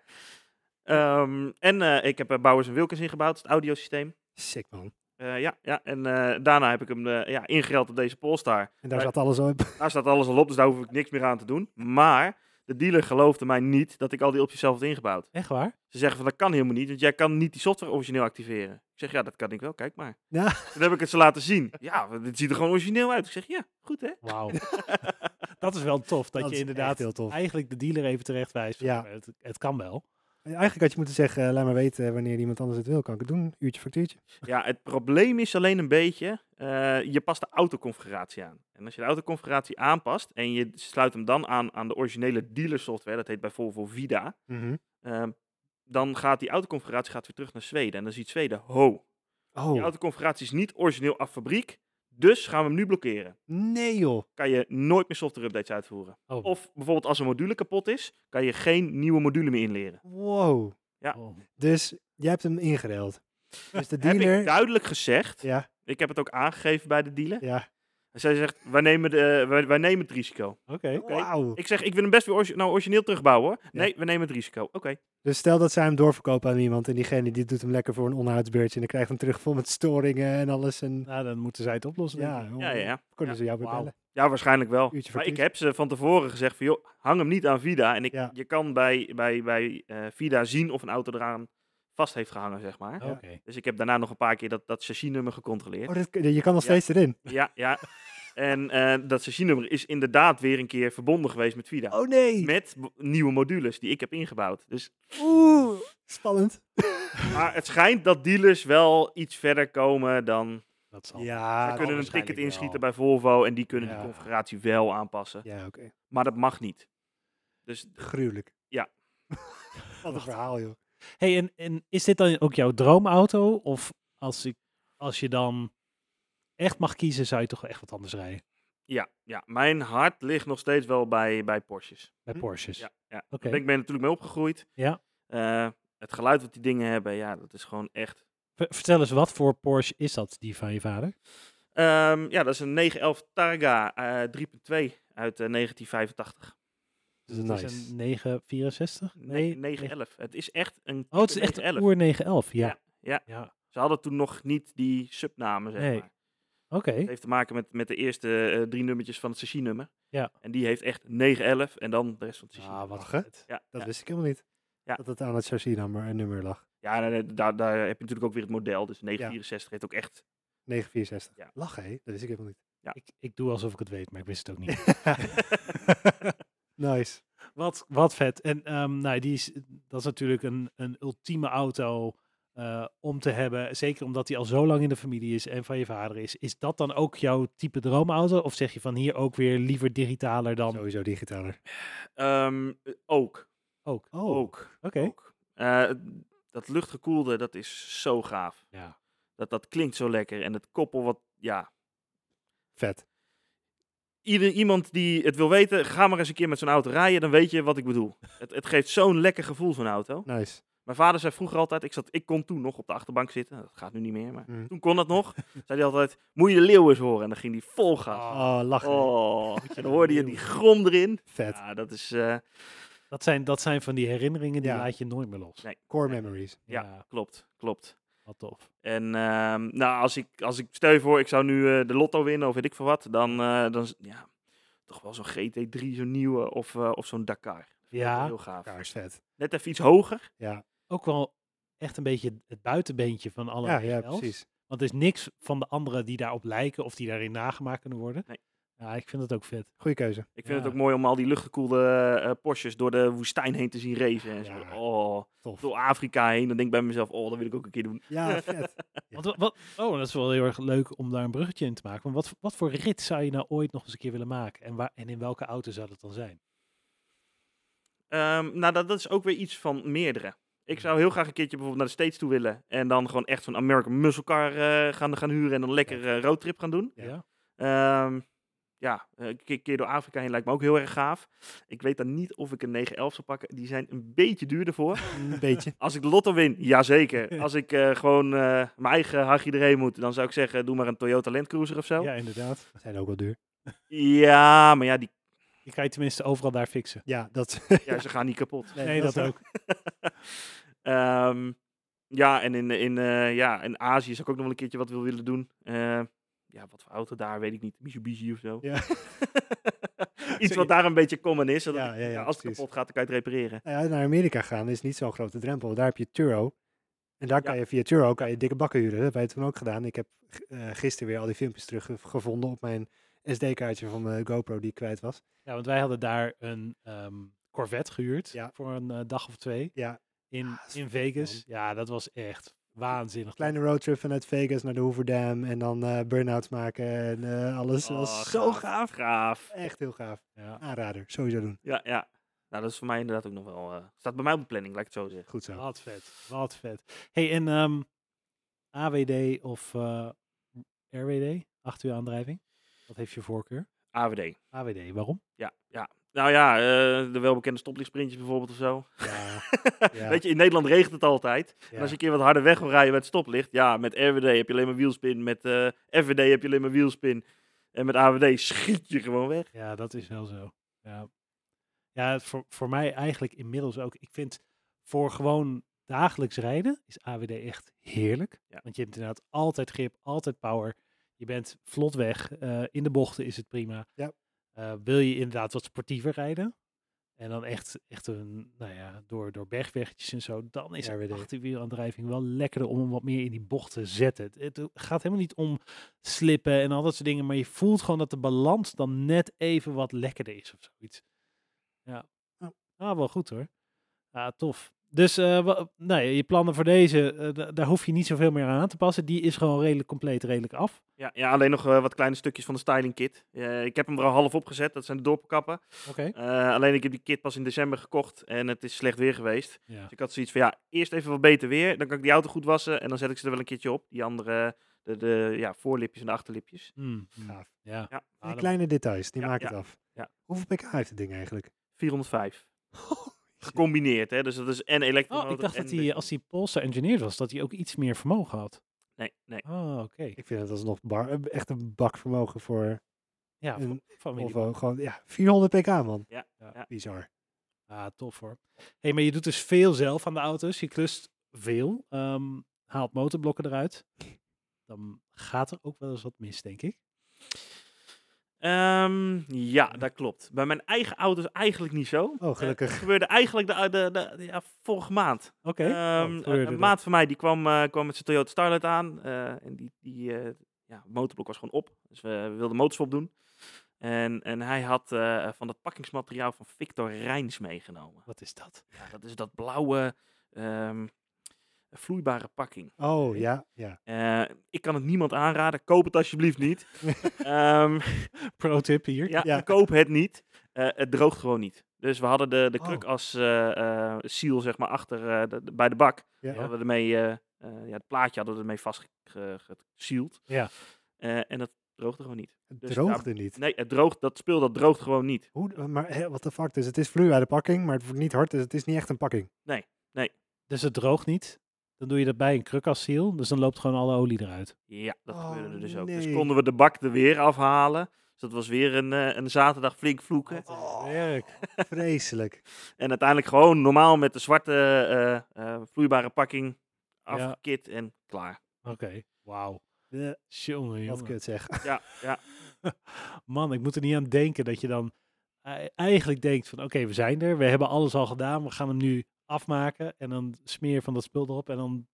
E: Ehm, en eh, ik heb eh, Bowers Wilkins ingebouwd, het audiosysteem.
D: Sick man.
E: Eh, ja, ja, en eh, daarna heb ik hem eh, ja, ingereld op deze Polestar.
D: En daar
E: Maar-
D: zat alles al in.
E: Daar staat alles al op, dus daar hoef ik niks meer aan te doen. Maar de dealer geloofde mij niet dat ik al die opties zelf had ingebouwd.
C: Echt waar?
E: Ze zeggen van dat kan helemaal niet, want jij kan niet die software origineel activeren. Ik zeg ja, dat kan ik wel, kijk maar.
D: Ja.
E: Dan heb ik het ze laten zien. Ja, want dit ziet er gewoon origineel uit. Ik zeg ja, goed hè.
C: Wauw. dat is wel tof, dat,
D: Dat
C: je
D: is
C: inderdaad
D: echt heel tof.
C: eigenlijk de dealer even terecht wijst. van,
D: Ja.
C: Het, het kan wel.
D: Eigenlijk had je moeten zeggen, eh, laat maar weten wanneer iemand anders het wil. Kan ik het doen? Uurtje factuurtje.
E: Ja, het probleem is alleen een beetje, eh, je past de autoconfiguratie aan. En als je de autoconfiguratie aanpast en je sluit hem dan aan aan de originele dealer software, dat heet bij Volvo Vida,
C: Mhm.
E: ehm, dan gaat die autoconfiguratie gaat weer terug naar Zweden. En dan ziet Zweden, ho,
D: Oh,
E: die autoconfiguratie is niet origineel af fabriek, Dus gaan we hem nu blokkeren.
D: Nee joh.
E: Kan je nooit meer software updates uitvoeren.
C: Oh.
E: Of bijvoorbeeld als een module kapot is, kan je geen nieuwe module meer inleren.
D: Wow.
E: ja.
C: Oh.
D: Dus jij hebt hem ingereld. Dus de
E: Heb
D: dealer...
E: ik duidelijk gezegd.
D: Ja,
E: Ik heb het ook aangegeven bij de dealer.
D: ja.
E: En zij zegt, wij nemen, de, eh, wij, wij nemen het risico.
C: Oké.
E: Oké.
D: Wauw.
E: Ik zeg, ik wil hem best weer orgi- nou, origineel terugbouwen hoor. Nee, we nemen het risico. Oké.
D: Dus stel dat zij hem doorverkopen aan iemand en diegene die doet hem lekker voor een onderhoudsbeurtje en dan krijgt hem terug vol met storingen en alles. En,
C: Nou, dan moeten zij het oplossen. denk
D: ja,
C: ik.
E: Ja, ja, ja.
D: Kunnen
E: Ja.
D: ze jou weer
C: Wauw.
D: bellen?
E: Ja, waarschijnlijk wel.
D: Uurtje
E: Maar ik
D: verkiezen.
E: heb ze van tevoren gezegd van, joh, hang hem niet aan Vida. En ik,
D: Ja.
E: je kan bij, bij, bij eh, Vida zien of een auto eraan vast heeft gehangen, zeg maar.
C: Oké.
E: Dus ik heb daarna nog een paar keer dat, dat chassis-nummer gecontroleerd.
D: Oh, dat, kun- je kan nog
E: Ja.
D: steeds erin.
E: Ja, ja. En eh, dat chassis-nummer is inderdaad weer een keer verbonden geweest met Vida.
D: Oh nee!
E: Met b- nieuwe modules die ik heb ingebouwd. Dus
D: Oeh, spannend.
E: Maar het schijnt dat dealers wel iets verder komen dan.
C: Ah, Dat zal.
D: Ja, oh,
E: Ze kunnen een
C: waarschijnlijk
E: ticket inschieten
C: wel.
E: bij Volvo en die kunnen
D: Ja.
E: de configuratie wel aanpassen.
D: Ja, oké.
E: Maar dat mag niet. Dus
D: Gruwelijk.
E: Ja.
D: Wat een verhaal, joh.
C: Hey, en, en is dit dan ook jouw droomauto? Of als, ik, als je dan echt mag kiezen, zou je toch wel echt wat anders rijden?
E: ja, ja mijn hart ligt nog steeds wel bij, bij Porsches.
C: Bij
D: Hm.
C: Porsches.
E: Ja, ja. Daar
C: Oké.
E: ben ik ben natuurlijk mee opgegroeid.
C: Ja.
E: Eh, het geluid wat die dingen hebben, ja, dat is gewoon echt.
C: Ver- Vertel eens, wat voor Porsche is dat, die van je vader?
E: Ehm, ja, dat is een 911 Targa eh, 3.2 uit eh, 1985.
D: Dat is
C: Het
D: nice.
C: is een 964?
E: Nee,
C: negen-
E: 911. Het is echt een.
C: Oh, het is echt een
E: 911.
C: oer 911. Ja.
E: Ja, ja.
C: ja.
E: Ze hadden toen nog niet die subnamen, zeg
C: Nee.
E: maar.
C: Oké.
E: Het heeft te maken met, met de eerste eh, drie nummertjes van het sessienummer.
C: Ja.
E: En die heeft echt 911 en dan de rest van het sessie.
C: Ah, wat
D: Ach, hè?
C: vet.
E: ja,
D: Dat
E: ja.
D: wist ik helemaal niet.
E: Ja.
D: Dat het aan het chassis-nummer een nummer lag.
E: ja en, eh, daar, daar heb je natuurlijk ook weer het model. Dus 964 heeft ook echt...
D: 964.
E: Ja.
D: Lach, hé? Dat wist ik helemaal niet.
C: Ik, ik doe alsof ik het weet, maar ik wist het ook niet.
D: Nice.
C: wat, wat vet. En ehm, nou, die is, dat is natuurlijk een, een ultieme auto eh, om te hebben. Zeker omdat die al zo lang in de familie is en van je vader is. Is dat dan ook jouw type droomauto? Of zeg je van hier ook weer liever digitaler dan
D: Sowieso digitaler.
E: Ehm, eh, ook.
C: ook? Oké.
D: Oh,
E: Ook. ook. Eh, dat luchtgekoelde, dat is zo gaaf.
C: Ja.
E: Dat, dat klinkt zo lekker. En het koppel wat... Ja.
D: Vet.
E: Ieder, iemand die het wil weten, ga maar eens een keer met zo'n auto rijden. Dan weet je wat ik bedoel. het, het geeft zo'n lekker gevoel, zo'n auto.
D: Nice.
E: Mijn vader zei vroeger altijd, ik, zat, ik kon toen nog op de achterbank zitten. Dat gaat nu niet meer, maar
D: Mm.
E: toen kon dat nog. zei hij altijd, moet je de leeuw eens horen? En dan ging die vol gas.
D: Oh, lach.
E: Oh,
D: hé.
E: en dan hoorde je die grom erin.
D: Vet.
E: Ja, dat is, eh,
C: Dat, zijn, dat zijn van die herinneringen die
D: Ja.
C: laat je nooit meer los.
E: Nee.
D: Core memories.
E: Ja. klopt, klopt.
C: Wat tof.
E: En ehm, nou, als ik, als ik stel je voor, ik zou nu eh, de lotto winnen of weet ik veel wat, dan, eh, dan is- ja, toch wel zo'n GT3, zo'n nieuwe of, eh, of zo'n Dakar.
C: Ja,
E: Heel gaaf.
D: Kaars vet.
E: Net even iets hoger.
D: Ja.
C: ook wel echt een beetje het buitenbeentje van alle
D: Ja, ja,
C: RL's.
D: precies.
C: Want er is niks van de anderen die daarop lijken of die daarin nagemaakt kunnen worden.
E: Nee.
C: Ja, ik vind dat ook vet.
D: Goeie keuze.
E: Ik vind
C: Ja.
E: het ook mooi om al die luchtgekoelde eh Porsches door de woestijn heen te zien racen. En zo.
D: Ja.
E: Oh,
D: Tof.
E: door Afrika heen. Dan denk ik bij mezelf, oh, dat wil ik ook een keer doen.
D: Ja, vet. Ja.
C: Want, wa- wat, oh, dat is wel heel erg leuk om daar een bruggetje in te maken. Maar wat, voor- wat voor rit zou je nou ooit nog eens een keer willen maken? En, waar, en in welke auto zou dat dan zijn?
E: Ehm, nou, dat, dat is ook weer iets van meerdere. Ik zou
D: Mhm.
E: heel graag een keertje bijvoorbeeld naar de States toe willen. En dan gewoon echt zo'n American Muscle Car eh, gaan, gaan huren. En dan lekker eh, roadtrip gaan doen.
D: Ja.
C: Ja.
E: Ehm, ja, eh, een keer, keer door Afrika heen lijkt me ook heel erg gaaf. Ik weet dan niet of ik een 911 zou pakken. Die zijn een beetje duurder voor.
D: Een beetje.
E: Als ik de lotto win, jazeker. Als ik eh, gewoon eh, mijn eigen hagje erheen moet, dan zou ik zeggen, doe maar een Toyota Land Cruiser of zo.
C: Ja, inderdaad.
D: Zijn ook wel duur.
E: Ja, maar ja, die,
C: Die kan je tenminste overal daar fixen.
D: Ja, dat...
E: ja, ze gaan niet kapot.
C: Nee, dat, ook.
E: Ehm, ja, en in, in, eh, ja, in Azië zou ik ook nog wel een keertje wat wil willen doen. Eh, ja, wat voor auto daar, weet ik niet. Mitsubishi of zo.
D: Ja.
E: Iets wat daar een beetje common is. Zodat
D: Ja,
E: ik-
D: ja, ja,
E: ja, als het
D: precies.
E: kapot gaat, dan kan je het repareren.
D: Nou ja, naar Amerika gaan is niet zo'n grote drempel. Daar heb je Turo. En daar kan
E: Ja.
D: je via Turo kan je dikke bakken huren. Dat hebben wij toen ook gedaan. Ik heb g- eh, gisteren weer al die filmpjes teruggevonden op mijn SD-kaartje van mijn GoPro die ik kwijt was.
C: Ja, want wij hadden daar een ehm, Corvette gehuurd
D: Ja.
C: voor een eh, dag of twee
D: Ja.
C: in,
D: Ah, dat is
C: in
D: vet,
C: Vegas. Ja, dat was echt waanzinnig.
D: Kleine roadtrip vanuit Vegas naar de Hoover Dam en dan eh burn-outs maken en eh, alles. Dat
E: Oh,
D: was zo gaaf.
E: Gaaf.
D: Echt heel gaaf.
C: Ja.
D: Aanrader, sowieso doen.
E: Ja, ja. Nou, dat is voor mij inderdaad ook nog wel... eh, staat bij mij op de planning, laat ik het zo zeggen.
D: Goed zo.
C: Wat vet, wat vet. Hey, en ehm, AWD of eh, RWD? 8 uur aandrijving? Wat heeft je voorkeur?
E: AVD.
C: AWD, waarom?
E: Ja, ja. Nou ja, eh, de welbekende stoplichtsprintjes bijvoorbeeld of zo.
D: Ja, ja.
E: Weet je, in Nederland regent het altijd.
D: ja.
E: En als je een keer wat harder weg wil rijden met stoplicht, ja, met RWD heb je alleen maar wielspin, met eh FWD heb je alleen maar wielspin. En met AWD schiet je gewoon weg.
C: Ja, dat is wel zo. Ja, ja het voor, voor mij eigenlijk inmiddels ook. Ik vind voor gewoon dagelijks rijden is AWD echt heerlijk.
E: Ja.
C: Want je hebt inderdaad altijd grip, altijd power. Je bent vlot weg. eh, in de bochten is het prima.
D: Ja.
C: Eh, wil je inderdaad wat sportiever rijden? En dan echt, echt een, nou ja, door, door bergweggetjes en zo. Dan is
D: RWD.
C: een achterwielaandrijving wel lekkerder om hem wat meer in die bocht te zetten. Het het gaat helemaal niet om slippen en al dat soort dingen. Maar je voelt gewoon dat de balans dan net even wat lekkerder is of zoiets. Ja.
D: Ja.
C: Ah, wel goed hoor. Ah, tof. Dus eh, wa- nou ja, je plannen voor deze, eh, da- daar hoef je niet zoveel meer aan te passen. Die is gewoon redelijk compleet, redelijk af.
E: Ja, ja alleen nog eh, wat kleine stukjes van de styling kit. Eh, ik heb hem er al half op gezet, dat zijn de dorpenkappen.
C: Oké.
E: Eh, alleen ik heb die kit pas in december gekocht en het is slecht weer geweest.
C: Ja.
E: Dus ik had zoiets van, ja, eerst even wat beter weer. Dan kan ik die auto goed wassen en dan zet ik ze er wel een keertje op. Die andere, de, de ja, voorlipjes en de achterlipjes.
C: Hmm,
D: Gaaf.
C: ja.
E: Ja,
C: Ah,
D: Die
C: dat-
D: kleine details, die
E: Ja,
D: maken
E: ja,
D: het af.
E: ja.
D: Hoeveel pk heeft het ding eigenlijk?
E: 405. Gecombineerd, hè. Dus dat is en elektromotor
C: Oh, ik dacht
E: en
C: dat hij, als hij Polestar engineer was, dat hij ook iets meer vermogen had.
E: Nee, nee.
C: Oh, oké.
D: Ik vind het alsnog bar, eh, echt een bakvermogen voor
C: Ja,
D: een
C: van wie die-
D: Volvo. Gewoon, ja, 400 pk man.
E: Ja, ja.
D: Bizar.
C: Ah, tof hoor. hey, maar je doet dus veel zelf aan de auto's. Je klust veel. ehm, haalt motorblokken eruit. Dan gaat er ook wel eens wat mis, denk ik.
E: Ehm, ja, dat klopt. Bij mijn eigen auto's eigenlijk niet zo. Eh,
D: Oh, gelukkig.
E: Het gebeurde eigenlijk de, eh, de, de, de- ja, vorige maand.
C: Oké.
E: Ehm,
C: wat
E: een-
C: Oh, gebeurde
E: een
C: er?
E: maat van mij die kwam, eh, kwam met zijn Toyota Starlet aan. eh, en die, die eh, ja, motorblok was gewoon op. Dus we wilden motorswap doen. En, en hij had eh, van dat pakkingsmateriaal van Victor Rijns meegenomen.
C: Wat is dat?
E: Ja, dat is dat blauwe ehm, vloeibare pakking.
D: Oh, ja, ja.
E: Eh, ik kan het niemand aanraden. Koop het alsjeblieft niet. Ehm,
C: Pro tip hier.
E: Ja,
D: Ja.
E: koop het niet. Eh, het droogt gewoon niet. Dus we hadden de, de
D: Oh.
E: kruk als eh, eh, seal, zeg maar, achter eh, de- de- bij de bak.
D: Ja.
E: Hadden we ermee, eh, eh, ja, het plaatje hadden we ermee vastgesealed.
C: Ja.
E: Eh, en dat droogde gewoon niet.
D: Het
E: Dus
D: droogde niet.
E: Nee, het droogt, dat spul dat droogt gewoon niet.
D: Hoe, eh, maar wat de fuck, dus het is vloeibare pakking, maar het wordt niet hard, dus het is niet echt een pakking.
C: Dus het droogt niet. Dan doe je dat bij een krukassiel. Dus dan loopt gewoon alle olie eruit.
E: Ja, dat
D: Oh,
E: gebeurde er dus ook.
D: nee.
E: Dus konden we de bak er weer afhalen. Dus dat was weer een, eh, een zaterdag flink
D: Oh.
E: vloeken.
C: Werk.
D: Vreselijk.
E: En uiteindelijk gewoon normaal met de zwarte eh, eh, vloeibare pakking
C: Ja.
E: afgekit en klaar.
C: Oké. Wauw.
D: Eh,
C: Jongen,
D: Wat
C: jongen.
D: kut zeg.
E: Ja, ja.
C: Man, ik moet er niet aan denken dat je dan eh, eigenlijk denkt van... Oké, we zijn er. We hebben alles al gedaan. We gaan hem nu afmaken. En dan smeer je van dat spul erop. En dan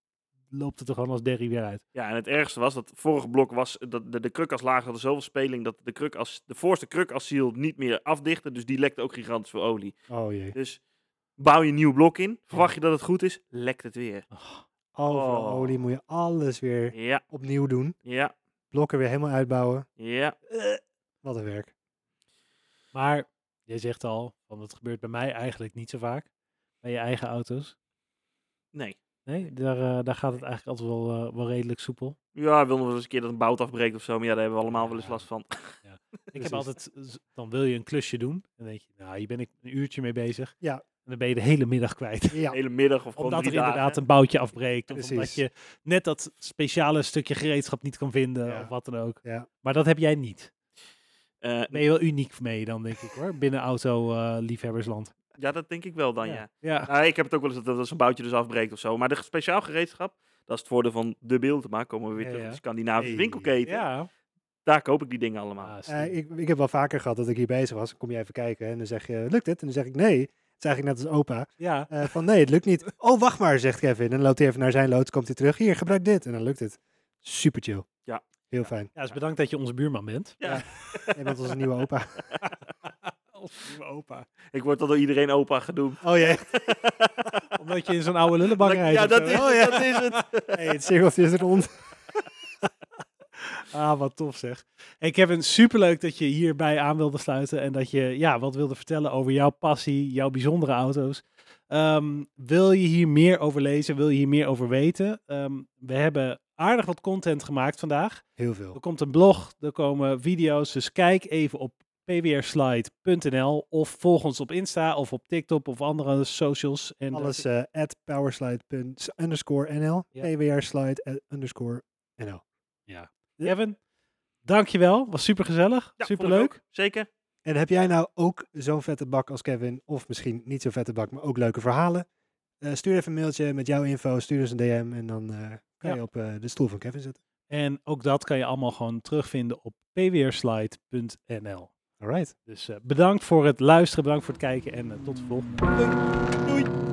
C: loopt het er gewoon als derrie weer uit.
E: Ja, en het ergste was dat vorige blok was dat de, de krukaslagen hadden zoveel speling dat de, kruk als, de voorste krukassiel niet meer afdichtte. Dus die lekte ook gigantisch veel olie.
D: Oh jee.
E: Dus bouw je een nieuw blok in, verwacht je dat het goed is, lekt het weer.
C: Ah.
D: Overal
E: Oh.
D: olie moet je alles weer
E: Ja,
D: opnieuw doen.
E: ja,
D: Blokken weer helemaal uitbouwen.
E: ja.
D: Wat een werk.
C: Maar jij zegt al, want het gebeurt bij mij eigenlijk niet zo vaak. Bij je eigen auto's.
E: Nee.
C: Nee, daar, eh, daar gaat het eigenlijk altijd wel, eh, wel redelijk soepel.
E: Ja, wilden we wel eens een keer dat een bout afbreekt of zo, maar ja, daar hebben we allemaal wel eens
C: Ja.
E: last van.
C: Ik heb
D: Precies.
C: altijd, z- dan wil je een klusje doen. En dan denk je, nou, hier ben ik een uurtje mee bezig.
D: Ja.
C: En dan ben je de hele middag kwijt.
E: De
D: Ja,
E: hele middag of gewoon
C: Omdat er
E: drie dagen.
C: inderdaad een boutje afbreekt. Of omdat
D: Precies.
C: je net dat speciale stukje gereedschap niet kan vinden.
D: Ja.
C: Of wat dan ook.
D: Ja.
C: Maar dat heb jij niet.
E: Eh,
C: Ben je wel uniek mee dan, denk ik hoor. Binnen auto-liefhebbersland.
E: ja, dat denk ik wel dan, ja.
C: ja.
E: Nou, ik heb het ook wel eens dat, dat een boutje dus afbreekt of zo. Maar de speciaal gereedschap, dat is het voordeel van de beelden. Maar komen we weer
C: Ja,
E: terug
C: ja.
E: op de Scandinavische
D: Hey.
E: winkelketen.
C: Ja.
E: Daar koop ik die dingen allemaal.
C: Ah,
D: Eh,
C: slim.
D: ik, ik heb wel vaker gehad dat ik hier bezig was. Dan kom je even kijken en dan zeg je, lukt het? En dan zeg ik, nee. Het is eigenlijk net als opa.
C: ja.
D: Eh, van nee, het lukt niet. Oh, wacht maar, zegt Kevin. En dan loopt hij even naar zijn loods, komt hij terug. Hier, gebruik dit. En dan lukt het. Super chill.
E: Ja.
D: Heel fijn.
C: Ja, dus bedankt dat je onze buurman bent.
D: Jij bent onze nieuwe opa.
C: Onze nieuwe opa.
E: Ik word dan door iedereen opa genoemd.
D: Oh jee.
C: Omdat je in zo'n oude lullenbak
E: Dat-
C: rijdt.
E: ja,
C: of zo.
E: dat is,
C: Oh, ja.
E: dat is het.
D: Hey, het cirkeltje is rond.
C: Ah, wat tof zeg. Hey Kevin, superleuk dat je hierbij aan wilde sluiten en dat je ja, wat wilde vertellen over jouw passie, jouw bijzondere auto's. Ehm, wil je hier meer over lezen? Wil je hier meer over weten? Ehm, we hebben aardig wat content gemaakt vandaag.
D: Heel veel.
C: Er komt een blog, er komen video's. Dus kijk even op pwrslide.nl of volg ons op Insta of op TikTok of andere socials. En eh,
D: Alles eh at powerslide. underscore nl.
C: Ja.
D: pwrslide at underscore nl.
C: eh, Kevin, dankjewel. Was super gezellig,
E: Ja,
C: super
E: vond ik
C: leuk.
E: ook. Zeker.
D: En heb jij nou ook zo'n vette bak als Kevin, of misschien niet zo'n vette bak, maar ook leuke verhalen? Eh, stuur even een mailtje met jouw info, stuur eens een DM en dan eh, kan
C: Ja.
D: je op eh, de stoel van Kevin zitten.
C: En ook dat kan je allemaal gewoon terugvinden op pwrslide.nl.
D: All right.
C: Dus eh, bedankt voor het luisteren, bedankt voor het kijken en eh, tot de volgende.
D: Doei.